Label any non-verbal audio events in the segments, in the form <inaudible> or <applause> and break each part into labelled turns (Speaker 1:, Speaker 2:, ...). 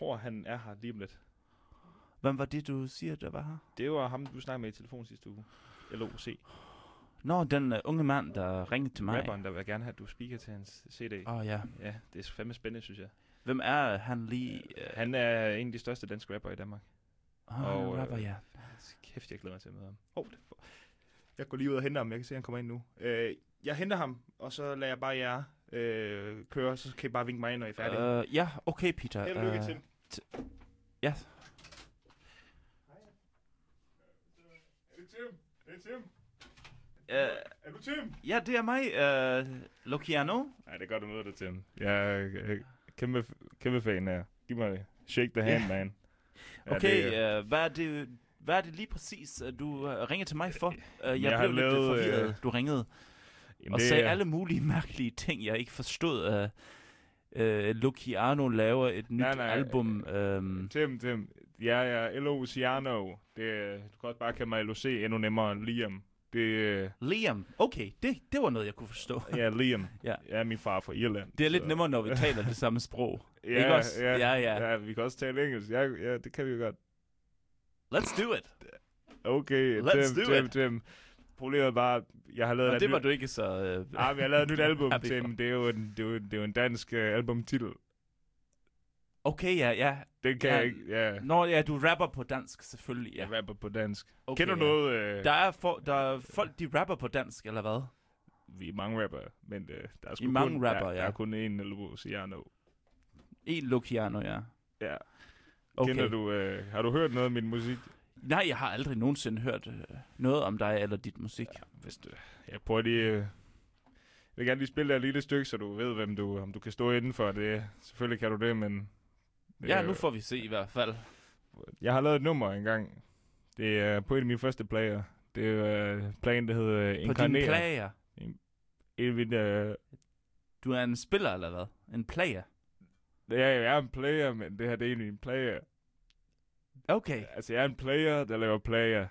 Speaker 1: når han er her lige om lidt.
Speaker 2: Hvem var det, du siger, der var her?
Speaker 1: Det var ham, du snakkede med i telefon sidste uge. LOC.
Speaker 2: Nå, den uh, unge mand, der ringede til mig.
Speaker 1: Rapperen, der vil gerne have, at du speaker til hans CD.
Speaker 2: Åh oh, ja.
Speaker 1: Ja, det er fandme spændende, synes jeg.
Speaker 2: Hvem er han lige? Uh,
Speaker 1: Han er en af de største danske rapper i Danmark.
Speaker 2: oh,
Speaker 1: og,
Speaker 2: og,
Speaker 1: øh,
Speaker 2: rapper, ja.
Speaker 1: Kæft, jeg glæder mig til at møde ham. Oh, det for... Jeg går lige ud og henter ham. Jeg kan se, at han kommer ind nu. Øh, jeg henter ham, og så lader jeg bare jer øh, køre, så kan I bare vinke mig ind, når I er færdige. Uh,
Speaker 2: Uh, ja, okay, Peter.
Speaker 1: Held og lykke
Speaker 2: Øh,
Speaker 1: til.
Speaker 2: Ja,
Speaker 1: Er det Tim? Er det Tim?
Speaker 2: Øh,
Speaker 1: Er du Tim?
Speaker 2: ja, det er mig, uh, Luciano.
Speaker 1: Nej, det er godt at møde dig, Tim. Jeg er øh, kæmpe, kæmpe fan af jer. Giv mig det. Shake the hand,
Speaker 2: Ja.
Speaker 1: man. Ja,
Speaker 2: Okay,
Speaker 1: det,
Speaker 2: uh, hvad, er det, hvad er det lige præcis, øh, du øh, ringer til mig for? Uh,
Speaker 1: jeg
Speaker 2: jeg, jeg
Speaker 1: har
Speaker 2: blev lidt
Speaker 1: lavet,
Speaker 2: øh,
Speaker 1: øh,
Speaker 2: forvirret, du ringede.
Speaker 1: jamen,
Speaker 2: Og
Speaker 1: det
Speaker 2: sagde
Speaker 1: er-
Speaker 2: alle mulige <laughs> mærkelige ting, jeg ikke forstod. Uh, uh, Luciano laver et nyt
Speaker 1: Nej, øh, nej,
Speaker 2: album. Um,
Speaker 1: Tim, Tim. Jeg er L.O. Ciano. Det, er- du kan også bare kalde mig L.O.C. endnu nemmere end Liam. Det er
Speaker 2: Liam. Okay, det, det var noget, jeg kunne forstå.
Speaker 1: ja, Liam.
Speaker 2: <laughs> Ja.
Speaker 1: Jeg er min far fra Irland.
Speaker 2: Det er lidt
Speaker 1: så-
Speaker 2: nemmere, når
Speaker 1: <laughs>
Speaker 2: vi taler det samme sprog.
Speaker 1: Ja,
Speaker 2: ikke også?
Speaker 1: Ja,
Speaker 2: Ja, ja.
Speaker 1: ja. ja, vi kan også tale engelsk. Ja, ja det kan vi jo godt.
Speaker 2: Let's do it.
Speaker 1: Okay,
Speaker 2: Let's
Speaker 1: Tim,
Speaker 2: do
Speaker 1: Tim,
Speaker 2: it.
Speaker 1: Tim. Problemet er bare, jeg har lavet
Speaker 2: Og
Speaker 1: et
Speaker 2: det var
Speaker 1: nyt-
Speaker 2: du ikke så... Uh,
Speaker 1: Ah, men jeg har
Speaker 2: <laughs>
Speaker 1: lavet et nyt album,
Speaker 2: Happy
Speaker 1: Tim. Det er jo en, det er jo, det er jo en dansk uh, albumtitel.
Speaker 2: Okay, ja, ja.
Speaker 1: Den kan
Speaker 2: Ja.
Speaker 1: jeg ikke... Ja.
Speaker 2: Nå, ja, du rapper på dansk, selvfølgelig, ja.
Speaker 1: Jeg rapper på dansk.
Speaker 2: Okay,
Speaker 1: Kender du
Speaker 2: ja.
Speaker 1: noget? Øh,
Speaker 2: Der er, for, der er folk, de rapper på dansk, eller hvad?
Speaker 1: Vi er mange rapper, men øh, der er sgu
Speaker 2: I er
Speaker 1: kun,
Speaker 2: mange
Speaker 1: der,
Speaker 2: rappere,
Speaker 1: der
Speaker 2: ja.
Speaker 1: er kun én L.O. Ciano.
Speaker 2: En Luciano, ja.
Speaker 1: Ja.
Speaker 2: Okay.
Speaker 1: Kender du, øh, har du hørt noget af min musik?
Speaker 2: Nej, jeg har aldrig nogensinde hørt øh, noget om dig eller dit musik.
Speaker 1: Hvis du, jeg prøver lige... Øh, jeg vil gerne lige spille dig et lille stykke, så du ved, hvem du, om du kan stå indenfor. Det, selvfølgelig kan du det, men...
Speaker 2: Ja,
Speaker 1: det er
Speaker 2: ja
Speaker 1: jo-
Speaker 2: nu får vi se i hvert fald.
Speaker 1: Jeg har lavet et nummer engang. Det er på en af mine første plager. Det er øh, plagen, der hedder øh,
Speaker 2: På dine
Speaker 1: Inkarnere.
Speaker 2: plager.
Speaker 1: En af mine, øh,
Speaker 2: Du er en spiller, eller hvad? En player.
Speaker 1: ja, jeg er en player, men det her det er en af mine plager.
Speaker 2: Okay,
Speaker 1: Altså, jeg er en player, der laver plager.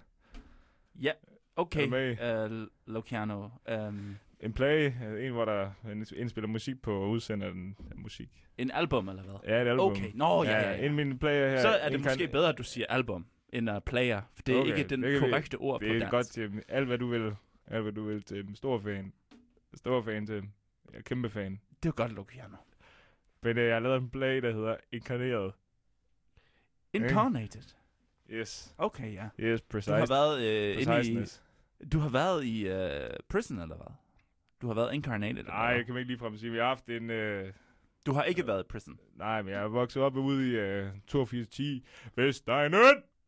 Speaker 1: Er
Speaker 2: okay,
Speaker 1: du med?
Speaker 2: uh, Luciano. Um,
Speaker 1: En plage, øh, en hvor der øh, indspiller musik på og udsender den af musik.
Speaker 2: en album, eller hvad?
Speaker 1: Ja, et album.
Speaker 2: Okay, nå, ja, ja,
Speaker 1: En af
Speaker 2: ja.
Speaker 1: mine plager her.
Speaker 2: Så er det
Speaker 1: inkarn-
Speaker 2: måske bedre, at du siger album, end uh, player. For det er
Speaker 1: Okay,
Speaker 2: ikke den
Speaker 1: det kan vi-
Speaker 2: korrekte ord på
Speaker 1: Det er
Speaker 2: dansk.
Speaker 1: godt til alt hvad du vil. Alt hvad du vil til Stor fan. Stor fan til Jeg er kæmpe fan.
Speaker 2: Det er godt, Luciano.
Speaker 1: Men øh, jeg har lavet en plage, der hedder Inkarneret.
Speaker 2: Incarnated.
Speaker 1: Yes.
Speaker 2: Okay, ja.
Speaker 1: Yes,
Speaker 2: Du har
Speaker 1: precise.
Speaker 2: været øh, inde i...
Speaker 1: Preciseness.
Speaker 2: Du har været i øh, prison, eller hvad? Du har været incarnated, eller
Speaker 1: Nej,
Speaker 2: hvad?
Speaker 1: jeg kan ikke ligefrem sige, vi har haft en... Øh,
Speaker 2: Du har ikke været i prison.
Speaker 1: nej, men jeg er vokset op ude i øh, 8210 Vestegnen!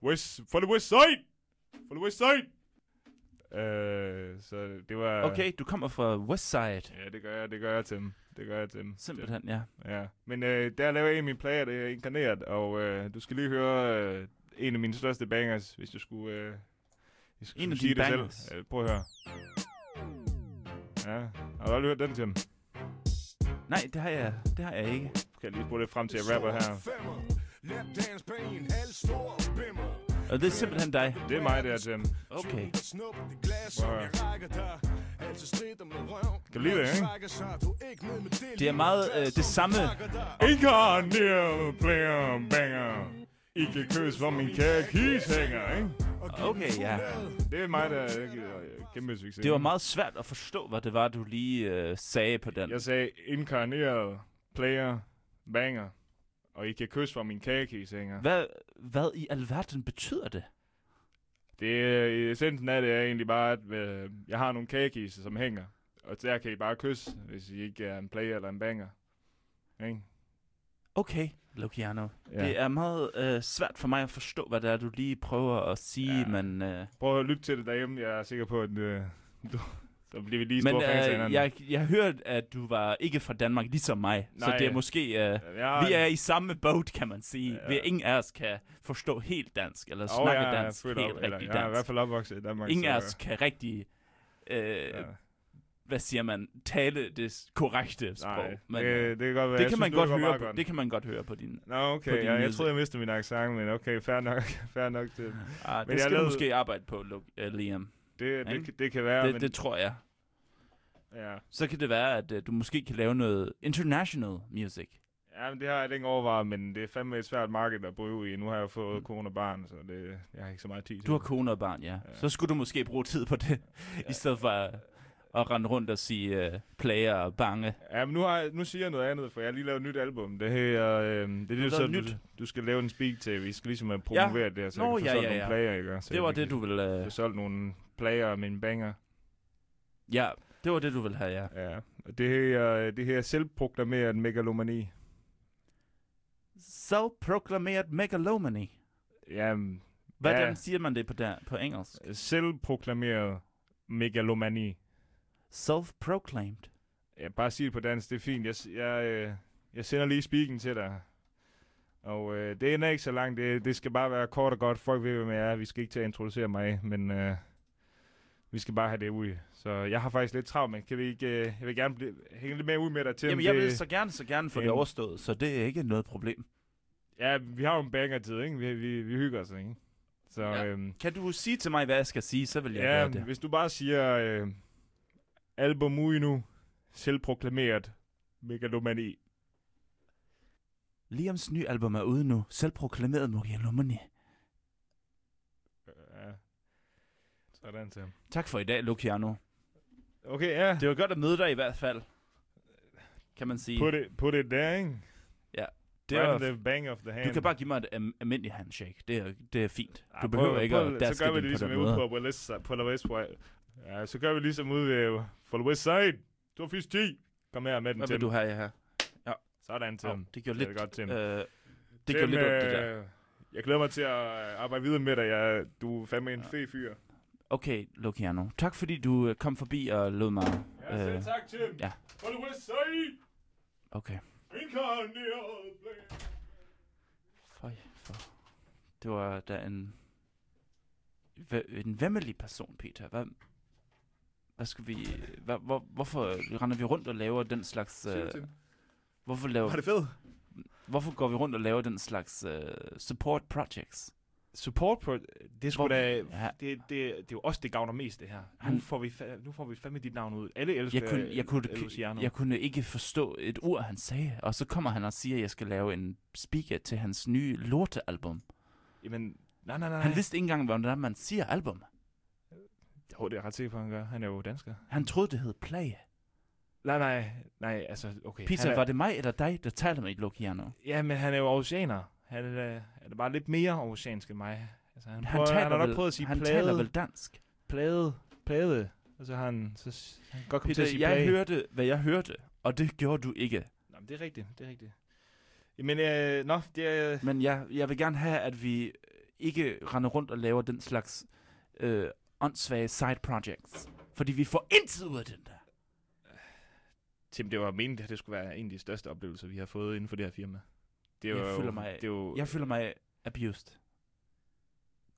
Speaker 1: West, for the west side! For the west side! Øh, så det var...
Speaker 2: Okay, du kommer fra Westside.
Speaker 1: Ja, det gør jeg, det gør jeg til dem. Det gør jeg til dem.
Speaker 2: Simpelthen, ja.
Speaker 1: Det- Ja. Men øh, der laver jeg en af mine plager, det er inkarneret, og øh, du skal lige høre øh, en af mine største bangers, hvis du skulle... Øh, hvis du
Speaker 2: En af
Speaker 1: skulle sige
Speaker 2: dine
Speaker 1: det selv.
Speaker 2: bangers.
Speaker 1: Øh, prøv at høre. Ja, har du aldrig hørt den til dem?
Speaker 2: Nej, det har jeg, det har jeg ikke.
Speaker 1: Kan jeg lige spole lidt frem til, at jeg rapper her.
Speaker 2: Og det er simpelthen dig.
Speaker 1: Det er mig, der er Tim.
Speaker 2: Okay.
Speaker 3: Kan du lide det, ikke?
Speaker 2: Det er meget, øh, det samme.
Speaker 1: Inkarneret player banger. I kan kysse for min kære kishænger, ikke?
Speaker 2: Okay, ja.
Speaker 1: Det er mig, der er kæmpe succes.
Speaker 2: Det var meget svært at forstå, hvad det var, du lige øh, sagde på den.
Speaker 1: Jeg sagde inkarneret player banger. Og I kan kysse for min kagekishænger.
Speaker 2: Hvad, hvad i alverden betyder det?
Speaker 1: Det er essensen af det er egentlig bare, at øh, jeg har nogle kagekiser, som hænger. Og der kan I bare kysse, hvis I ikke er en player eller en banger. Ikke?
Speaker 2: Okay, Luciano.
Speaker 1: Ja.
Speaker 2: Det er meget øh, svært for mig at forstå, hvad det er, du lige prøver at sige,
Speaker 1: Ja.
Speaker 2: ja. men... Øh,
Speaker 1: Prøv at lytte til det derhjemme. Jeg er sikker på, at øh, <laughs> du, så bliver vi lige
Speaker 2: Men
Speaker 1: store fans af
Speaker 2: øh,
Speaker 1: hinanden.
Speaker 2: jeg, jeg hørte, at du var ikke fra Danmark, ligesom mig. Nej. Så
Speaker 1: Nej.
Speaker 2: det er måske... Øh,
Speaker 1: Jeg,
Speaker 2: vi er i samme boat, kan man sige.
Speaker 1: Ja.
Speaker 2: Ja. Vi ingen af os kan forstå helt dansk, eller
Speaker 1: Og
Speaker 2: snakke
Speaker 1: jeg er
Speaker 2: dansk,
Speaker 1: født
Speaker 2: helt
Speaker 1: op-
Speaker 2: rigtig
Speaker 1: eller,
Speaker 2: dansk.
Speaker 1: Jeg er i hvert fald opvokset i Danmark.
Speaker 2: ingen af
Speaker 1: så,
Speaker 2: os kan rigtig... Øh,
Speaker 1: ja.
Speaker 2: ja. Hvad siger man? Tale det korrekte sprog.
Speaker 1: Nej,
Speaker 2: men, øh,
Speaker 1: det, det kan godt være.
Speaker 2: det,
Speaker 1: Jeg
Speaker 2: kan man
Speaker 1: synes,
Speaker 2: godt
Speaker 1: du var
Speaker 2: høre
Speaker 1: meget
Speaker 2: på,
Speaker 1: godt.
Speaker 2: det kan man godt høre på din...
Speaker 1: Nå, okay.
Speaker 2: din
Speaker 1: Jeg, jeg
Speaker 2: nyhed.
Speaker 1: troede, jeg mistede min accent, men okay, fair nok, <laughs> fair nok til.
Speaker 2: Ah,
Speaker 1: jeg
Speaker 2: det skal
Speaker 1: lavede-
Speaker 2: du måske arbejde på, Lu- øh, Liam.
Speaker 1: Det, det,
Speaker 2: Ikke?
Speaker 1: det, det kan være,
Speaker 2: det,
Speaker 1: men...
Speaker 2: det tror jeg.
Speaker 1: ja.
Speaker 2: Så kan det være, at øh, du måske kan lave noget international music.
Speaker 1: Ja, men det har jeg ikke overvejet, men det er fandme et svært marked at bruge i. Nu har jeg jo fået mm. kone og barn, så det, jeg har ikke så meget tid til
Speaker 2: Du har
Speaker 1: det.
Speaker 2: kone og barn, ja.
Speaker 1: Ja.
Speaker 2: Så skulle du måske bruge tid på det, <laughs> i stedet for at, at rende rundt og sige øh, plager og bange.
Speaker 1: Ja, men nu, har jeg, nu siger jeg noget andet, for jeg har lige lavet et nyt album. Det hedder... Øh, det er det,
Speaker 2: lavet
Speaker 1: så,
Speaker 2: nyt?
Speaker 1: du, du skal lave en speak til. Vi skal ligesom øh, promovere ja. det her, så Nå, jeg kan få ja, solgt ja, ja. nogle plager, ikke? Så
Speaker 2: Det var
Speaker 1: jeg kan
Speaker 2: det, du ville...
Speaker 1: få
Speaker 2: Øh,
Speaker 1: solgt nogle plager af mine banger.
Speaker 2: ja, det var det, du ville have, ja.
Speaker 1: Ja. Og Det her, det her selvproklameret megalomani.
Speaker 2: Self-proclaimed megalomani.
Speaker 1: Ja, mm,
Speaker 2: Hvordan
Speaker 1: Ja.
Speaker 2: siger man det på, der, på engelsk?
Speaker 1: selvproklameret megalomani.
Speaker 2: Self-proclaimed.
Speaker 1: Ja, bare sig det på dansk, det er fint. Jeg, s- jeg, øh, jeg sender lige speaken til dig. Og øh, det ender ikke så langt. Det, det skal bare være kort og godt. Folk ved, hvem jeg er. Vi skal ikke til at introducere mig, men øh, vi skal bare have det ud. Så jeg har faktisk lidt travlt, men kan vi ikke... Øh, jeg vil gerne blive, hænge lidt mere ud med dig til, om
Speaker 2: Jamen, jeg
Speaker 1: det,
Speaker 2: vil så gerne, så gerne få det
Speaker 1: Øhm.
Speaker 2: overstået, så det er ikke noget problem.
Speaker 1: Ja, vi har jo en banger-tid, ikke? Vi, vi, vi hygger os, ikke? Så...
Speaker 2: Ja.
Speaker 1: Ja. Øhm,
Speaker 2: Kan du sige til mig, hvad jeg skal sige, så vil jeg
Speaker 1: Ja,
Speaker 2: gøre det.
Speaker 1: hvis du bare siger øh, album ud nu, selvproklameret megalomani.
Speaker 2: Liams nye album er ude nu, selvproklameret Mogialumani.
Speaker 1: Ja. Sådan til.
Speaker 2: Tak for i dag, Luciano.
Speaker 1: Okay, ja.
Speaker 2: Det var godt at møde dig i hvert fald, kan man sige.
Speaker 1: Put it, put it there, ikke?
Speaker 2: det
Speaker 1: right
Speaker 2: var,
Speaker 1: on the bang of the hand.
Speaker 2: du kan bare give mig et um, almindeligt handshake. Det er, det er fint.
Speaker 1: Ej,
Speaker 2: Du
Speaker 1: prøv-
Speaker 2: behøver ikke
Speaker 1: prøv-
Speaker 2: at daske
Speaker 1: Så gør vi
Speaker 2: det
Speaker 1: det
Speaker 2: på
Speaker 1: ligesom
Speaker 2: den
Speaker 1: ude
Speaker 2: måde.
Speaker 1: på, på, west, side- på the west side. Ja, så gør vi ligesom ude ved, på the west side. 280 Kom her med den
Speaker 2: Hvad
Speaker 1: til.
Speaker 2: vil du have, jeg her?
Speaker 1: Sådan til.
Speaker 2: Oh, det gjorde
Speaker 1: Det er
Speaker 2: lidt,
Speaker 1: godt, Tim. øh,
Speaker 2: øh, det gjorde lidt ondt, det der.
Speaker 1: Jeg glæder mig til at øh, arbejde videre med dig. Jeg, du er fandme en
Speaker 2: Ja.
Speaker 1: fed fyr.
Speaker 2: Okay, Luciano. Tak fordi du øh, kom forbi og lod mig...
Speaker 1: Ja, selv
Speaker 2: Øh,
Speaker 1: tak, Tim.
Speaker 2: ja.
Speaker 1: For the west side.
Speaker 2: okay.
Speaker 1: Incarnate Blade.
Speaker 2: Føj, for. Det var da en... hva- En vemmelig person, Peter. Hvad, hvad skal vi... Hvad, hvor, hvorfor render vi rundt og laver den slags...
Speaker 1: Siger
Speaker 2: Øh,
Speaker 1: du til dem?
Speaker 2: hvorfor, laver,
Speaker 1: Var det fedt?
Speaker 2: hvorfor går vi rundt og laver den slags øh, support projects?
Speaker 1: Support på... Det er sgu
Speaker 2: Hvor-
Speaker 1: da...
Speaker 2: Ja.
Speaker 1: Det, det, det er jo os, det gavner mest, det her.
Speaker 2: Han-
Speaker 1: Nu får vi, fa- nu får vi fandme dit navn ud. Alle elsker
Speaker 2: Jeg kunne, jeg,
Speaker 1: øh,
Speaker 2: kunne,
Speaker 1: Luciano.
Speaker 2: jeg kunne ikke forstå et ord, han sagde. Og så kommer han og siger, at jeg skal lave en speaker til hans nye lortealbum.
Speaker 1: Jamen, nej, nej, nej.
Speaker 2: Han vidste ikke engang, hvordan man siger album.
Speaker 1: Jo, det er jeg ret sikker på, han gør. Han er jo dansker.
Speaker 2: Han troede, det hed plage.
Speaker 1: Nej, nej, nej, altså, okay.
Speaker 2: Peter,
Speaker 1: han er,
Speaker 2: var det mig eller dig, der talte med Luciano?
Speaker 1: Ja, men han er jo oceaner. Han er, han er bare lidt mere oceansk end mig. Altså, han, prøver, han,
Speaker 2: taler
Speaker 1: har nok
Speaker 2: vel-
Speaker 1: prøvet at sige
Speaker 2: han
Speaker 1: plade,
Speaker 2: taler vel dansk.
Speaker 1: plade, plade. Og så har han, så s- han kan godt komme til at
Speaker 2: Peter,
Speaker 1: sige
Speaker 2: jeg
Speaker 1: plage.
Speaker 2: hørte, hvad jeg hørte, og det gjorde du ikke.
Speaker 1: Nå, men det er rigtigt, det er rigtigt. Jamen, øh, nå, det er...
Speaker 2: Men jeg, jeg vil gerne have, at vi øh, ikke render rundt og laver den slags øh, åndssvage side projects. Fordi vi får intet ud af den der.
Speaker 1: Tim, det var meningen, at det skulle være en af de største oplevelser, vi har fået inden for det her firma. Det
Speaker 2: Jeg
Speaker 1: var
Speaker 2: føler
Speaker 1: jo,
Speaker 2: mig-
Speaker 1: Det var,
Speaker 2: Jeg føler mig abused.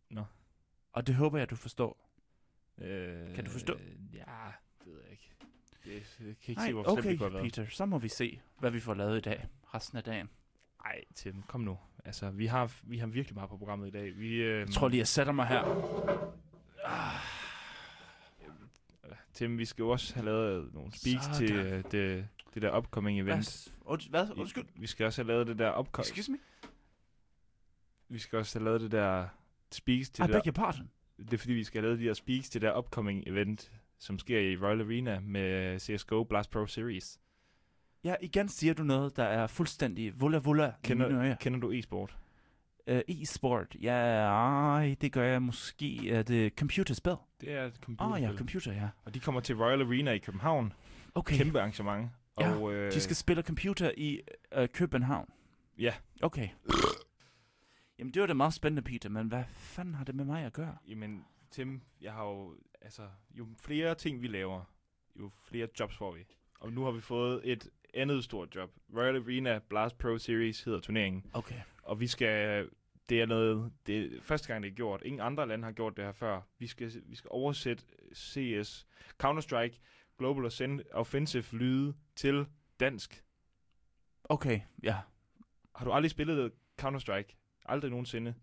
Speaker 1: Nå.
Speaker 2: Og det håber jeg, du forstår.
Speaker 1: øh,
Speaker 2: Kan du forstå?
Speaker 1: Ja, det ved jeg ikke. Det, jeg kan ikke
Speaker 2: Nej,
Speaker 1: se, hvor slemt
Speaker 2: okay,
Speaker 1: det kunne have været.
Speaker 2: Peter, så må vi se, hvad vi får lavet i dag. Resten af dagen.
Speaker 1: Ej, Tim, kom nu. Altså, vi har, vi har virkelig meget på programmet i dag. Vi, øh,
Speaker 2: Jeg tror lige, jeg sætter mig her.
Speaker 1: øh, Tim, vi skal jo også have lavet nogle speaks
Speaker 2: Sådan.
Speaker 1: til øh, det, det der upcoming
Speaker 2: Hvad?
Speaker 1: event.
Speaker 2: s- und- Hvad? Undskyld.
Speaker 1: Vi skal også have lavet det der upcoming...
Speaker 2: Excuse me?
Speaker 1: Vi skal også have lavet det der speaks til
Speaker 2: I
Speaker 1: det der
Speaker 2: beg your pardon.
Speaker 1: Det er fordi, vi skal have lavet de her speaks til det der upcoming event, som sker i Royal Arena med CSGO Blast Pro Series.
Speaker 2: Ja, igen siger du noget, der er fuldstændig vulla vulla i
Speaker 1: Kender-
Speaker 2: mine ører.
Speaker 1: Kender du e-sport?
Speaker 2: Øh, e-sport, ja, ej, det gør jeg måske. Er det computerspil? Åh
Speaker 1: Det er et
Speaker 2: oh,
Speaker 1: computerspil.
Speaker 2: ja, computer, ja.
Speaker 1: og de kommer til Royal Arena i København.
Speaker 2: Okay,
Speaker 1: Okay. Kæmpe arrangement.
Speaker 2: Ja,
Speaker 1: og, øh,
Speaker 2: de skal spille computer i øh, København.
Speaker 1: Ja.
Speaker 2: Okay. Jamen, det var da meget spændende, Peter, men hvad fanden har det med mig at gøre?
Speaker 1: Jamen, Tim, jeg har jo... Altså, jo flere ting vi laver, jo flere jobs får vi. Og nu har vi fået et andet stort job. Royal Arena Blast Pro Series hedder turneringen.
Speaker 2: Okay.
Speaker 1: Og vi skal... Det er noget... Det er første gang, det er gjort. Ingen andre lande har gjort det her før. Vi skal, vi skal oversætte CS, Counter-Strike, Global Offen- Offensive lyde til dansk.
Speaker 2: Okay, ja.
Speaker 1: Har du aldrig spillet Counter-Strike? Aldrig nogensinde.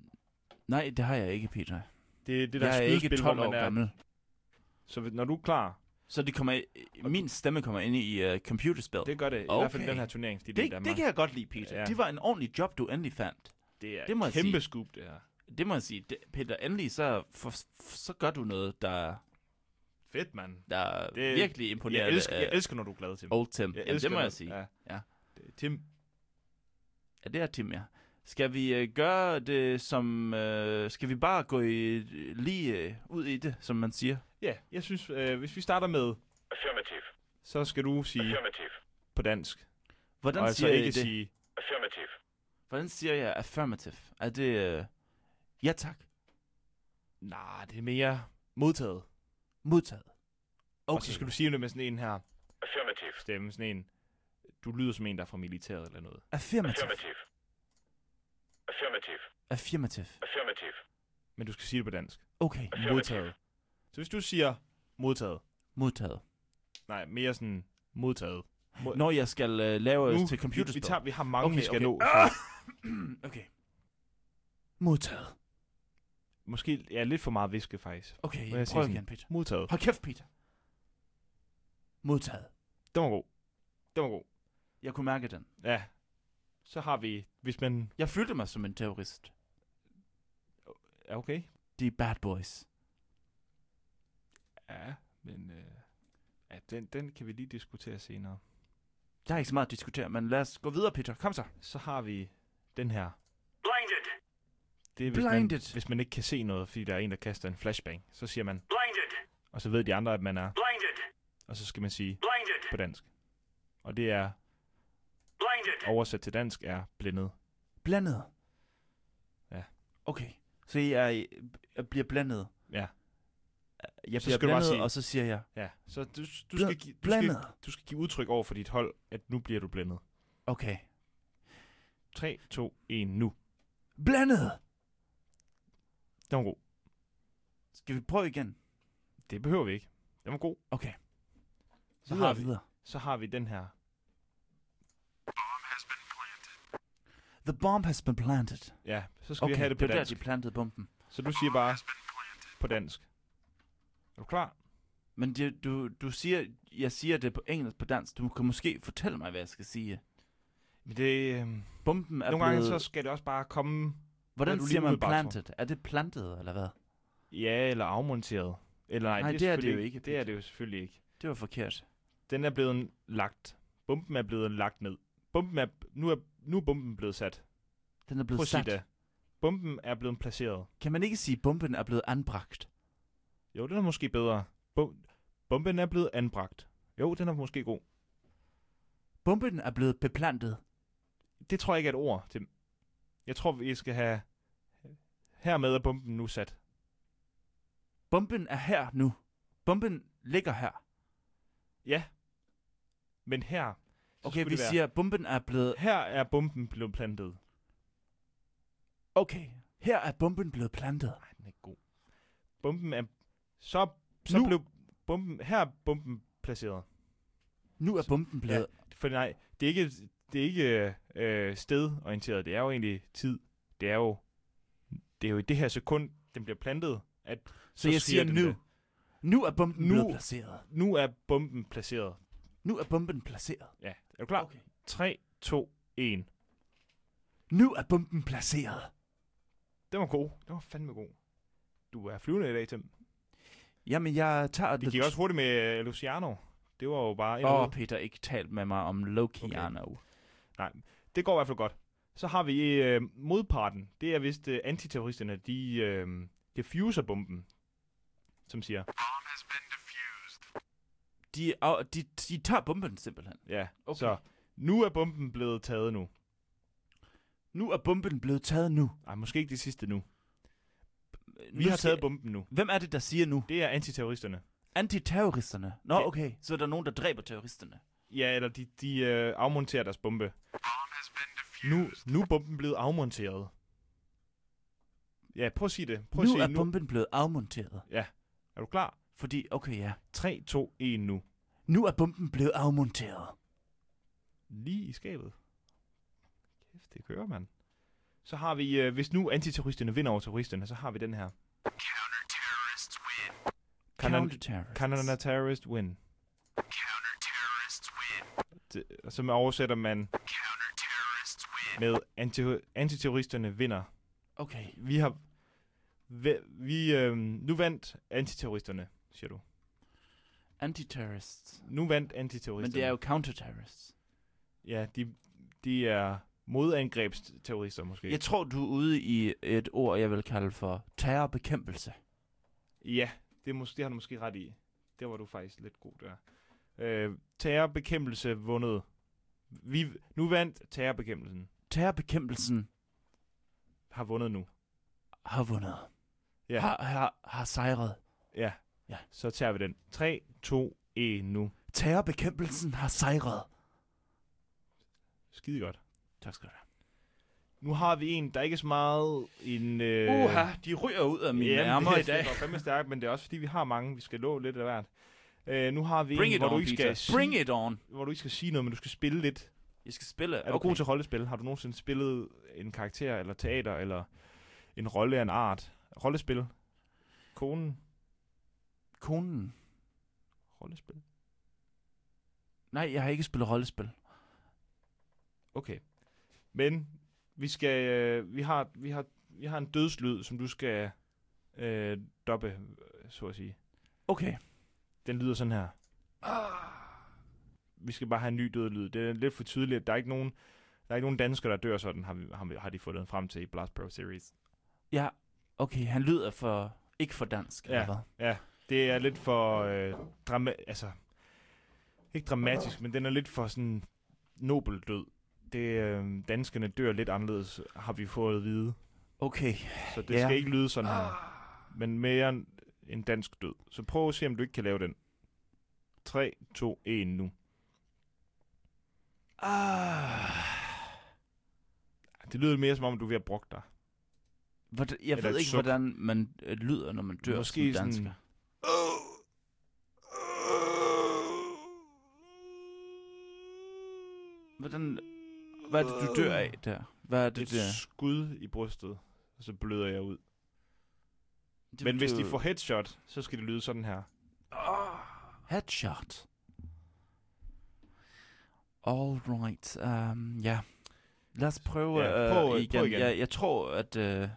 Speaker 2: Nej, det har jeg ikke, Peter.
Speaker 1: Det er det der
Speaker 2: jeg er ikke
Speaker 1: skydespil, hvor
Speaker 2: 12 år
Speaker 1: man er...
Speaker 2: gammel.
Speaker 1: Så hvis- når du er klar,
Speaker 2: Så de kommer, min stemme kommer ind i uh, computerspil. Det,
Speaker 1: Det gør det, okay. i
Speaker 2: Okay.
Speaker 1: hvert fald i den her turnering, fordi det, er i
Speaker 2: det,
Speaker 1: Danmark.
Speaker 2: det kan jeg godt lide, Peter.
Speaker 1: Ja.
Speaker 2: Ja. Det var en ordentlig job, du endelig fandt.
Speaker 1: det er
Speaker 2: det må jeg
Speaker 1: kæmpe
Speaker 2: sige.
Speaker 1: scoop, det her.
Speaker 2: Det må jeg sige. Det, Peter, endelig så, for, for, så gør du noget, der,
Speaker 1: Fedt, mand.
Speaker 2: der
Speaker 1: Det-
Speaker 2: det, virkelig imponerer
Speaker 1: Jeg elsker,
Speaker 2: øh,
Speaker 1: jeg elsker, når du er glad, Tim.
Speaker 2: Old Tim.
Speaker 1: Jeg
Speaker 2: Jamen, det må
Speaker 1: når-
Speaker 2: jeg sige.
Speaker 1: Ja.
Speaker 2: Ja.
Speaker 1: Det- Tim,
Speaker 2: Ja, det er Tim, ja. Skal vi øh, gøre det som... Øh, skal vi bare gå i, lige øh, ud i det, som man siger?
Speaker 1: ja, jeg synes, øh, hvis vi starter med,
Speaker 4: Affirmative.
Speaker 1: så skal du sige
Speaker 4: Affirmative.
Speaker 1: på dansk.
Speaker 2: Hvordan
Speaker 1: og altså
Speaker 2: siger jeg
Speaker 1: ikke
Speaker 2: det?
Speaker 1: sige,
Speaker 4: Affirmative.
Speaker 2: Hvordan siger jeg affirmative? Er det... Øh, ja tak.
Speaker 1: nej, det er mere modtaget.
Speaker 2: Modtaget.
Speaker 1: Okay.
Speaker 2: Okay.
Speaker 1: Og så skal du sige det med sådan en her
Speaker 4: Affirmative.
Speaker 1: stemme, sådan en, du lyder som en, der er fra militæret eller noget.
Speaker 2: Affirmative.
Speaker 4: Affirmative. Affirmative.
Speaker 2: Affirmative.
Speaker 4: Affirmative.
Speaker 1: Men du skal sige det på dansk.
Speaker 2: Okay.
Speaker 4: Affirmative.
Speaker 1: Modtaget. Så hvis du siger modtaget,
Speaker 2: Modtaget.
Speaker 1: nej, mere sådan modtaget. Mod-
Speaker 2: Når jeg skal øh, lave
Speaker 1: Nu,
Speaker 2: til
Speaker 1: vi, vi,
Speaker 2: computerspil.
Speaker 1: tager, vi har mange, okay,
Speaker 2: Okay,
Speaker 1: vi skal
Speaker 2: okay. Ah!
Speaker 1: nå. Så
Speaker 2: <clears throat> okay. Modtaget.
Speaker 1: måske ja, lidt for meget viske, faktisk.
Speaker 2: Okay,
Speaker 1: Må jeg sige
Speaker 2: prøv
Speaker 1: sådan?
Speaker 2: igen, Peter.
Speaker 1: Modtaget.
Speaker 2: Hold kæft, Peter. Modtaget.
Speaker 1: Den var god. Den var god.
Speaker 2: Jeg kunne mærke den.
Speaker 1: Ja. Så har vi, hvis man...
Speaker 2: Jeg følte mig som en terrorist.
Speaker 1: Ja, okay.
Speaker 2: De er bad boys.
Speaker 1: Ja, men... Øh, ja, den, den kan vi lige diskutere senere.
Speaker 2: Der er ikke så meget at diskutere, men lad os gå videre, Peter. Kom så.
Speaker 1: Så har vi den her.
Speaker 4: Blinded.
Speaker 1: Det er, hvis man,
Speaker 2: Blinded.
Speaker 1: hvis man ikke kan se noget, fordi der er en, der kaster en flashbang, så siger man,
Speaker 4: Blinded.
Speaker 1: og så ved de andre, at man er,
Speaker 4: Blinded.
Speaker 1: og så skal man sige
Speaker 4: Blinded.
Speaker 1: på dansk. Og det er,
Speaker 4: Blinded.
Speaker 1: oversat til dansk, er blindet.
Speaker 2: Blandet.
Speaker 1: Ja.
Speaker 2: Okay. Så jeg, er, jeg bliver blandet.
Speaker 1: Ja.
Speaker 2: Jeg
Speaker 1: Så
Speaker 2: bliver
Speaker 1: skal du bare
Speaker 2: blandet,
Speaker 1: sige-
Speaker 2: og så siger jeg...
Speaker 1: Ja, så du, du,
Speaker 2: Bl-
Speaker 1: skal, gi- du, skal,
Speaker 2: blandet.
Speaker 1: du skal give udtryk over for dit hold, at nu bliver du blindet.
Speaker 2: Okay.
Speaker 1: 3, 2, 1, nu.
Speaker 2: Blandet!
Speaker 1: Den var god.
Speaker 2: Skal vi prøve igen?
Speaker 1: Det behøver vi ikke. Den var god.
Speaker 2: Okay.
Speaker 1: Så
Speaker 2: videre,
Speaker 1: har vi,
Speaker 2: videre.
Speaker 1: så har vi den her.
Speaker 2: The bomb has been planted.
Speaker 1: Ja, så skal okay, vi
Speaker 2: Okay,
Speaker 1: have det på
Speaker 2: det var der,
Speaker 1: dansk.
Speaker 2: de plantede bomben.
Speaker 1: Så du siger bare på dansk. Er du klar?
Speaker 2: Men det, du, du siger, jeg siger det på engelsk på dansk. Du kan måske fortælle mig, hvad jeg skal sige.
Speaker 1: Men det, øh, nogle
Speaker 2: Bomben er blevet...
Speaker 1: gange så skal det også bare komme hvad
Speaker 2: Hvordan
Speaker 1: du lige
Speaker 2: siger man
Speaker 1: umiddelbart tror.
Speaker 2: planted? Er det plantet, eller hvad?
Speaker 1: Ja, eller afmonteret. Eller nej,
Speaker 2: Nej,
Speaker 1: det,
Speaker 2: det er det
Speaker 1: selvfølgelig
Speaker 2: jo ikke,
Speaker 1: Det er
Speaker 2: Peter.
Speaker 1: det jo selvfølgelig ikke.
Speaker 2: Det var forkert.
Speaker 1: Den er blevet lagt. Bomben er blevet lagt ned. Bomben er, nu, er, nu er bomben blevet sat.
Speaker 2: Den er blevet
Speaker 1: Prøv at sige
Speaker 2: sat.
Speaker 1: det. Bomben er blevet placeret.
Speaker 2: Kan man ikke sige, at bomben er blevet anbragt?
Speaker 1: Jo, den er måske bedre. Bom, bomben er blevet anbragt. Jo, den er måske god.
Speaker 2: Bomben er blevet beplantet.
Speaker 1: Det tror jeg ikke er et ord, Tim. Jeg tror, vi skal have... Hermed er bomben nu sat.
Speaker 2: Bomben er her nu. Bomben ligger her.
Speaker 1: Ja. Men her... så
Speaker 2: Okay,
Speaker 1: skulle
Speaker 2: vi
Speaker 1: det være,
Speaker 2: siger, at bomben er blevet...
Speaker 1: Her er bomben blevet plantet.
Speaker 2: Okay, her er bomben blevet plantet.
Speaker 1: Nej, den er ikke god. Bomben er... Så, så
Speaker 2: Nu.
Speaker 1: blev bomben... Her er bomben placeret.
Speaker 2: Nu er bomben blevet...
Speaker 1: For nej, det er ikke, det er ikke øh, stedorienteret. Det er jo egentlig tid. Det er jo, det er jo i det her sekund, den bliver plantet, at
Speaker 2: Så, jeg siger
Speaker 1: den
Speaker 2: nu.
Speaker 1: det.
Speaker 2: Nu er bomben
Speaker 1: Nu.
Speaker 2: blevet placeret.
Speaker 1: Nu er bomben placeret.
Speaker 2: Nu er bomben placeret.
Speaker 1: Ja, er du klar? Okay. 3, 2, 1.
Speaker 2: Nu er bomben placeret.
Speaker 1: Den var god. Den var fandme god. Du er flyvende i dag, Tim.
Speaker 2: Jamen, jeg tager
Speaker 1: Det gik også hurtigt med øh, Luciano. Det var jo bare...
Speaker 2: Åh,
Speaker 1: Oh.
Speaker 2: oh, Peter, ikke talt med mig om Lokiano. Okay.
Speaker 1: Det går i hvert fald godt. Så har vi øh, modparten. Det er vist øh, antiterroristerne. De øh, diffuser bomben, som siger.
Speaker 2: De, oh, de, de tager bomben simpelthen.
Speaker 1: Ja, okay. så nu er bomben blevet taget nu.
Speaker 2: Nu er bomben blevet taget nu.
Speaker 1: Nej, måske ikke det sidste nu. Vi
Speaker 2: nu
Speaker 1: har
Speaker 2: skal-
Speaker 1: taget bomben nu.
Speaker 2: Hvem er det, der siger nu?
Speaker 1: Det er antiterroristerne.
Speaker 2: Antiterroristerne. Nå,
Speaker 1: Ja.
Speaker 2: okay. Så er der nogen, der dræber terroristerne.
Speaker 1: Ja, eller de, de øh, afmonterer deres bombe. Nu, nu er bomben blevet afmonteret. Ja, prøv at sige det. Prøv at
Speaker 2: nu
Speaker 1: sige
Speaker 2: er
Speaker 1: nu.
Speaker 2: bomben blevet afmonteret.
Speaker 1: Er du klar?
Speaker 2: Fordi, okay ja.
Speaker 1: 3, 2, 1 nu.
Speaker 2: Nu er bomben blevet afmonteret.
Speaker 1: Lige i skabet. Kæft, det kører, mand. Så har vi, øh, hvis nu antiterroristerne vinder over terroristerne, så har vi den her.
Speaker 2: Counter-terrorist.
Speaker 1: Canada Terrorist Win. Det, og så oversætter man med anti- antiterroristerne vinder.
Speaker 2: Okay.
Speaker 1: Vi har... Vi, vi øhm, nu vandt antiterroristerne, siger du.
Speaker 2: Antiterrorists.
Speaker 1: Nu vandt
Speaker 2: Men
Speaker 1: antiterroristerne.
Speaker 2: det er jo counter-terrorists.
Speaker 1: Ja, de, de er modangrebsterrorister måske.
Speaker 2: Jeg tror, du er ude i et ord, jeg vil kalde for terrorbekæmpelse.
Speaker 1: Ja, det, er mås- det har du måske ret i. Der var du faktisk lidt god der. Øh, terrorbekæmpelse vundet. Vi, nu vandt terrorbekæmpelsen.
Speaker 2: Terrorbekæmpelsen
Speaker 1: Har vundet nu.
Speaker 2: har vundet.
Speaker 1: Ja.
Speaker 2: Har, har, har sejret.
Speaker 1: Ja.
Speaker 2: Ja.
Speaker 1: Så tager vi den. 3, 2, 1 nu.
Speaker 2: Terrorbekæmpelsen har sejret.
Speaker 1: Skide godt.
Speaker 2: Tak skal du have.
Speaker 1: Nu har vi en, der ikke er så meget en... Øh,
Speaker 2: de ryger ud af
Speaker 1: det, Det går fandme stærkt, men det er også fordi, vi har mange. Vi skal nå lidt af hvert. Øh, nu har vi en,
Speaker 2: Bring it
Speaker 1: hvor, du
Speaker 2: on,
Speaker 1: ikke skal
Speaker 2: Peter.
Speaker 1: sige,
Speaker 2: Bring it on.
Speaker 1: hvor du ikke skal sige noget, men du skal spille lidt.
Speaker 2: Jeg skal spille.
Speaker 1: Er du god til rollespil? Har du nogensinde spillet en karakter, eller teater, eller en rolle af en art? Rollespil? Konen?
Speaker 2: konen?
Speaker 1: Rollespil?
Speaker 2: Nej, jeg har ikke spillet rollespil.
Speaker 1: Okay. Men vi skal, øh, vi har, vi har, vi har en dødslyd, som du skal øh, doppe, øh, så at sige.
Speaker 2: Okay.
Speaker 1: Den lyder sådan her. Vi skal bare have en ny død lyd. Det er lidt for tydeligt. Der er ikke nogen, der er ikke nogen danskere, der dør sådan, har, vi, har, vi- har de fundet frem til i Blast Pro Series.
Speaker 2: Ja, okay, han lyder for... Ikke for dansk,
Speaker 1: Ja.
Speaker 2: eller hvad?
Speaker 1: Det er lidt for øh, drama altså ikke dramatisk, men den er lidt for sådan nobel død. Det øh, danskerne dør lidt anderledes, har vi fået at vide.
Speaker 2: Okay.
Speaker 1: Så det
Speaker 2: Ja.
Speaker 1: skal ikke lyde sådan her,
Speaker 2: Ah.
Speaker 1: men mere en- en dansk død. Så prøv at se om du ikke kan lave den. 3 2 1 nu.
Speaker 2: Ah.
Speaker 1: Det lyder mere som om du er ved at brokke dig.
Speaker 2: Hvordan, jeg
Speaker 1: Eller
Speaker 2: ved
Speaker 1: et
Speaker 2: ikke,
Speaker 1: suk.
Speaker 2: hvordan man øh, lyder, når man dør
Speaker 1: Måske
Speaker 2: som
Speaker 1: sådan-
Speaker 2: dansker. Hvordan, hvad er det, du dør af der? Hvad er det,
Speaker 1: Det
Speaker 2: der?
Speaker 1: er Øh. et skud i brystet, og så bløder jeg ud.
Speaker 2: det
Speaker 1: Men hvis de
Speaker 2: betyder-
Speaker 1: får headshot, så skal det lyde sådan her.
Speaker 2: Ah. Headshot. All right. Um, ja. Lad os prøve,
Speaker 1: Ja,
Speaker 2: ja,
Speaker 1: prøv- øh,
Speaker 2: prøv,
Speaker 1: prøv
Speaker 2: igen. Prøv igen.
Speaker 1: igen.
Speaker 2: Jeg, jeg tror, at... Uh,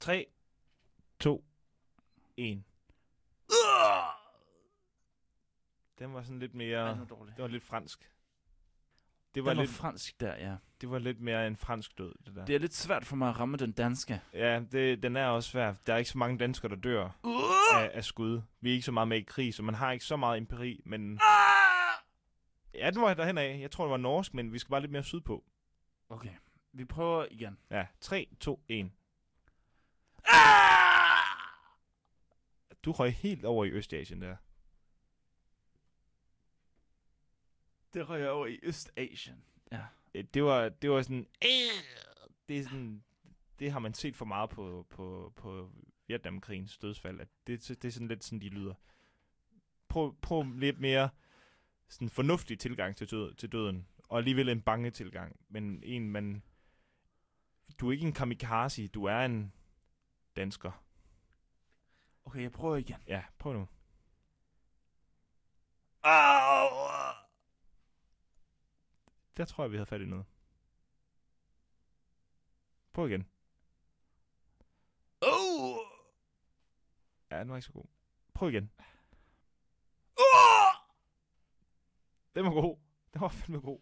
Speaker 1: 3 2 1. Ah. Den var sådan lidt mere...
Speaker 2: det var dårligt.
Speaker 1: Det var lidt fransk. Det
Speaker 2: Det
Speaker 1: var,
Speaker 2: var, var
Speaker 1: lidt,
Speaker 2: fransk der, ja.
Speaker 1: det var lidt mere en fransk død, det der.
Speaker 2: Det er lidt svært for mig at ramme den danske.
Speaker 1: Ja, det, den er også svær. Der er ikke så mange danskere, der dør
Speaker 2: Uh!
Speaker 1: af, af skud. Vi er ikke så meget med i krig, så man har ikke så meget empiri, men...
Speaker 2: Ah!
Speaker 1: Ja, den var derhen af. Jeg tror, det var norsk, men vi skal bare lidt mere sydpå.
Speaker 2: Okay, vi prøver igen.
Speaker 1: Ja, 3, 2, 1.
Speaker 2: Ah!
Speaker 1: Du røg helt over i Østasien der.
Speaker 2: Det røg jeg over i Østasien.
Speaker 1: Øh, Det var, det var sådan... Det, er sådan, det har man set for meget på, på, på Vietnamkrigens dødsfald, at det, det er sådan lidt sådan, de lyder. Prøv, prøv lidt mere sådan fornuftig tilgang til, død, til døden, og alligevel en bange tilgang, men en, man... Du er ikke en kamikaze, du er en dansker.
Speaker 2: Okay, jeg prøver igen.
Speaker 1: Ja, prøv nu. Der tror jeg, vi havde fat i noget. Prøv igen. Ja, den var ikke så god. Prøv igen. Den var god. Den var fandme god.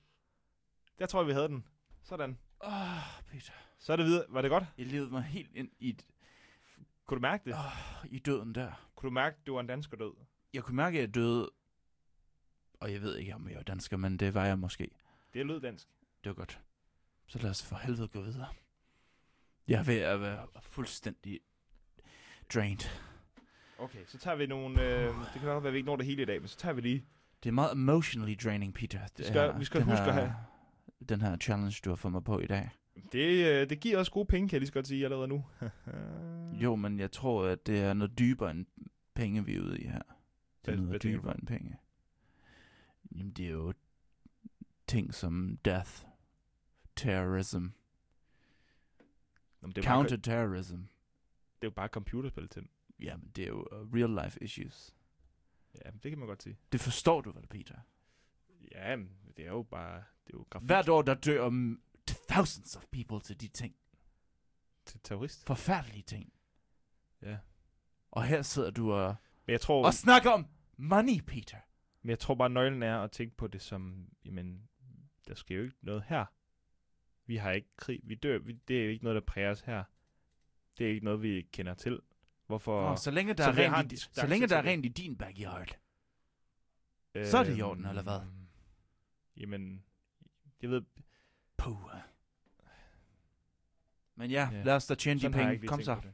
Speaker 1: Der tror jeg, vi havde den. Sådan.
Speaker 2: Åh, Ah, Peter.
Speaker 1: Så er det videre. Var det godt?
Speaker 2: Jeg levede mig helt ind i, et-
Speaker 1: Kunne du mærke det?
Speaker 2: i døden der.
Speaker 1: Kunne du mærke, at du var en dansker død?
Speaker 2: Jeg kunne mærke, at jeg døde. Og jeg ved ikke, om jeg var dansker, men det var jeg måske.
Speaker 1: Det lød dansk.
Speaker 2: Det var godt. Så lad os for helvede gå videre. Jeg er ved at være fuldstændig drained.
Speaker 1: Okay, så tager vi nogle... Øh, det kan godt være, at vi ikke når det hele i dag, men så tager vi lige...
Speaker 2: Det er meget emotionally draining, Peter. Det
Speaker 1: Vi skal-
Speaker 2: her-
Speaker 1: vi skal
Speaker 2: den
Speaker 1: huske
Speaker 2: her,
Speaker 1: at have-
Speaker 2: Den her challenge, du har fået mig på i dag.
Speaker 1: Det, øh, det giver også gode penge, kan jeg lige så godt sige allerede nu. <laughs> Mm.
Speaker 2: Jo, men jeg tror, at det er noget dybere end penge, vi er ude i her. Det
Speaker 1: Hvad-
Speaker 2: er noget
Speaker 1: hvad tænker du
Speaker 2: dybere end penge. Jamen, det er jo ting som death, terrorism,
Speaker 1: Nå, men det er meget godt.
Speaker 2: counterterrorism.
Speaker 1: Det er jo bare computerspil til.
Speaker 2: Jamen, det er jo øh, real life issues.
Speaker 1: Ja, det kan man godt sige.
Speaker 2: Det forstår du vel, Peter?
Speaker 1: Ja, men det er jo bare... Det er jo grafik
Speaker 2: Hvert år, der dør om thousands of people til de ting.
Speaker 1: til terrorist.
Speaker 2: Forfærdelige ting.
Speaker 1: Ja.
Speaker 2: Og her sidder du og,
Speaker 1: Men jeg tror,
Speaker 2: og snakker om money, Peter.
Speaker 1: men jeg tror bare, nøglen er at tænke på det som... Jamen, der sker jo ikke noget her. Vi har ikke krig. Vi dør. Vi, det er jo ikke noget, der præger os her. Det er ikke noget, vi kender til. Hvorfor...
Speaker 2: Og så længe der,
Speaker 1: så
Speaker 2: er
Speaker 1: vi har
Speaker 2: rent,
Speaker 1: en
Speaker 2: i,
Speaker 1: distance
Speaker 2: så længe der er
Speaker 1: til det.
Speaker 2: rent i din backyard. Så er det i orden, eller hvad?
Speaker 1: Øhm, Jamen, jeg ved,
Speaker 2: Puh. Men ja,
Speaker 1: Ja.
Speaker 2: yeah. lad os da tjene de
Speaker 1: sådan har jeg ikke
Speaker 2: penge.
Speaker 1: lige
Speaker 2: Kom
Speaker 1: tænkt
Speaker 2: så.
Speaker 1: på det.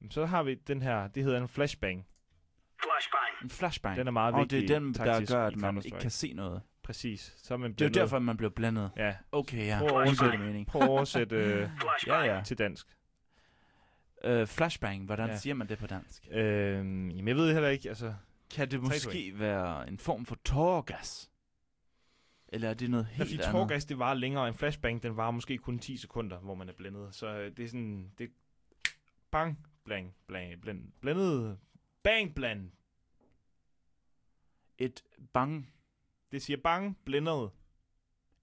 Speaker 1: Jamen, Så har vi den her, det hedder en flashbang.
Speaker 4: Flashbang.
Speaker 2: En flashbang.
Speaker 1: Den er meget
Speaker 2: og
Speaker 1: vigtig
Speaker 2: det er den, der
Speaker 1: taktisk
Speaker 2: gør,
Speaker 1: i
Speaker 2: at man ikke
Speaker 1: Counter-Strike.
Speaker 2: kan se noget.
Speaker 1: Præcis. Så er man
Speaker 2: Det er jo
Speaker 1: blandet.
Speaker 2: derfor, man bliver blandet.
Speaker 1: Ja,
Speaker 2: Okay, ja.
Speaker 1: Prøv at
Speaker 2: Det giver
Speaker 1: oversætte.
Speaker 2: det mening.
Speaker 1: prøv at oversætte øh,
Speaker 2: Ja,
Speaker 4: Flashbang.
Speaker 2: <laughs> ja.
Speaker 1: til dansk.
Speaker 2: Øh, flashbang, hvordan
Speaker 1: Ja.
Speaker 2: siger man det på dansk?
Speaker 1: Øh, jamen, jeg ved heller ikke, altså...
Speaker 2: Kan det
Speaker 1: Tre
Speaker 2: måske være en form for tårgas? Eller er det noget
Speaker 1: Helt
Speaker 2: helt
Speaker 1: fordi
Speaker 2: andet?
Speaker 1: tårgas, det varer længere, og en flashbang, den varer måske kun 10 sekunder, hvor man er blændet. Så øh, det er sådan, det bang, blang, blang, blænd, blændet, bang, bland.
Speaker 2: Et bang.
Speaker 1: Det siger bang, blændet.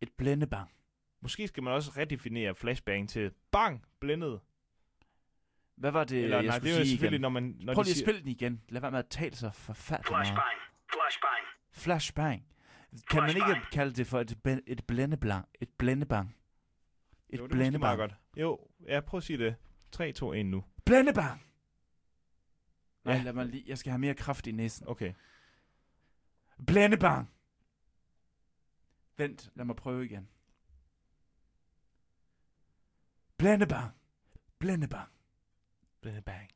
Speaker 2: Et blændebang.
Speaker 1: Måske skal man også redefinere flashbang til bang, blændet.
Speaker 2: Hvad var det,
Speaker 1: Eller
Speaker 2: Øh, jeg
Speaker 1: nej, det
Speaker 2: skulle
Speaker 1: er jo
Speaker 2: sige
Speaker 1: selvfølgelig,
Speaker 2: igen?
Speaker 1: når man... Når
Speaker 2: Prøv
Speaker 1: de
Speaker 2: lige at
Speaker 1: siger-
Speaker 2: spille den igen. Lad være med at tale så forfærdeligt meget.
Speaker 4: Flashbang. Flashbang.
Speaker 2: Flashbang. Kan man ikke
Speaker 4: Flashbang.
Speaker 2: kalde det for et, bæ- et blændebang? Et blændebang. Et
Speaker 1: Jo, det er måske meget
Speaker 2: blændebang.
Speaker 1: godt. Jo, ja, prøv at sige det. 3, 2, 1 nu.
Speaker 2: Blændebang! Nej,
Speaker 1: Ja.
Speaker 2: lad mig lige. Jeg skal have mere kraft i næsen.
Speaker 1: Okay.
Speaker 2: Blændebang! Vent, lad mig prøve igen. Blændebang! Blændebang!
Speaker 1: Bang.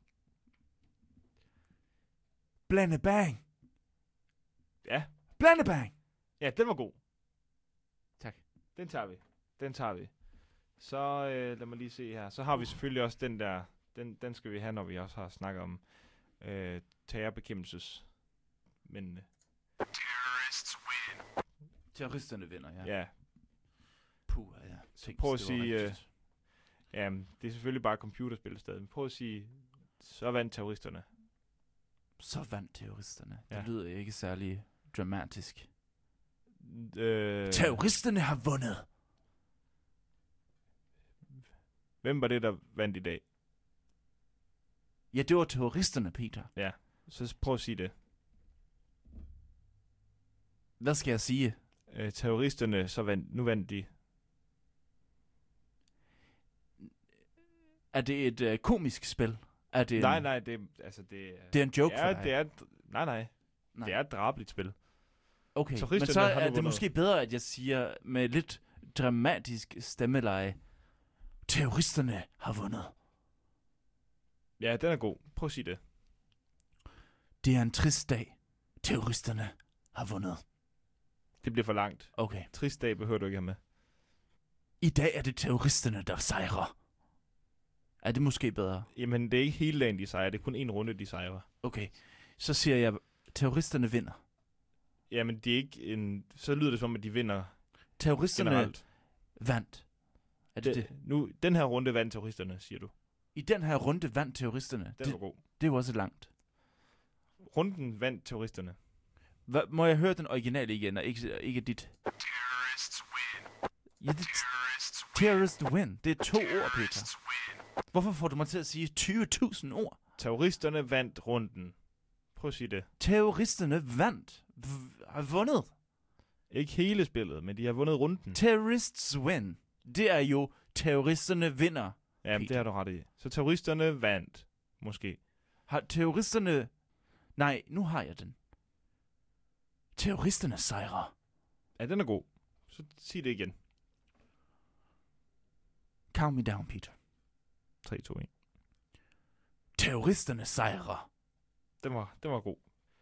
Speaker 2: Blændebang!
Speaker 1: Ja.
Speaker 2: Blændebang!
Speaker 1: Ja, den var god.
Speaker 2: Tak.
Speaker 1: Den tager vi. Den tager vi. Så øh, lad mig lige se her. Så har vi selvfølgelig også den der, den, den skal vi have, når vi også har snakket om øh, terrorbekæmpelses. Men
Speaker 2: Terroristerne vinder, ja.
Speaker 1: ja, ja,
Speaker 2: Puh, ja. Tænk,
Speaker 1: prøv at
Speaker 2: det var
Speaker 1: sige, øh,
Speaker 2: rigtigt.
Speaker 1: ja, det er selvfølgelig bare computerspil stadig. Men prøv at sige, så vandt terroristerne.
Speaker 2: Så vandt terroristerne. Ja.
Speaker 1: Ja.
Speaker 2: Det lyder ikke særlig dramatisk.
Speaker 1: Øh,
Speaker 2: Terroristerne har vundet.
Speaker 1: hvem var det, der vandt i dag?
Speaker 2: Ja, det var terroristerne, Peter.
Speaker 1: Så s- prøv at sige det.
Speaker 2: Hvad skal jeg sige?
Speaker 1: Øh, terroristerne, så vandt, nu vandt de.
Speaker 2: Er det et øh, komisk spil? Er det en,
Speaker 1: Nej, nej, det, er- altså det,
Speaker 2: Det er en joke
Speaker 1: ja,
Speaker 2: for dig?
Speaker 1: det er, et- nej, nej,
Speaker 2: nej.
Speaker 1: det er et drabeligt spil.
Speaker 2: Okay, men
Speaker 1: Terroristerne
Speaker 2: så
Speaker 1: har nu
Speaker 2: er det
Speaker 1: vundet.
Speaker 2: måske bedre, at jeg siger med lidt dramatisk stemmeleje. Terroristerne har vundet.
Speaker 1: Ja, den er god. Prøv at sige det.
Speaker 2: Det er en trist dag. Terroristerne har vundet.
Speaker 1: Det bliver for langt.
Speaker 2: Okay.
Speaker 1: Trist dag behøver du ikke have med.
Speaker 2: I dag er det terroristerne, der sejrer. Er det måske bedre?
Speaker 1: Jamen, det er ikke hele dagen, de sejrer. Det er kun en runde, de sejrer.
Speaker 2: Okay. Så siger jeg, terroristerne vinder.
Speaker 1: Jamen, det er ikke en... Så lyder det som, at de vinder
Speaker 2: Terroristerne Generelt.
Speaker 1: generelt.
Speaker 2: vandt. øh, Er det, det det?
Speaker 1: Nu, den her runde vandt terroristerne, siger du.
Speaker 2: I den her runde vandt terroristerne.
Speaker 1: Den
Speaker 2: Det,
Speaker 1: var god.
Speaker 2: det er jo også langt.
Speaker 1: Runden vandt terroristerne.
Speaker 2: Hva, må jeg høre den originale igen, og ikke, ikke dit? Ja, det, terrorist win. Det er to ord, Peter. Hvorfor får du mig til at sige 20.000 ord?
Speaker 1: Terroristerne vandt runden. Prøv at sige det.
Speaker 2: Terroristerne vandt. V- har vundet.
Speaker 1: Ikke hele spillet, men de har vundet runden.
Speaker 2: Terrorists win. Det er jo, terroristerne vinder.
Speaker 1: Jamen, det
Speaker 2: Peter.
Speaker 1: har du ret i. Så terroristerne vandt. Måske.
Speaker 2: Har terroristerne... Nej, nu har jeg den. Terroristerne sejrer.
Speaker 1: Ja, den er god. Så sig det igen.
Speaker 2: Calm me down, Peter.
Speaker 1: 3, 2, 1.
Speaker 2: Terroristerne sejrer.
Speaker 1: Den var, den var god.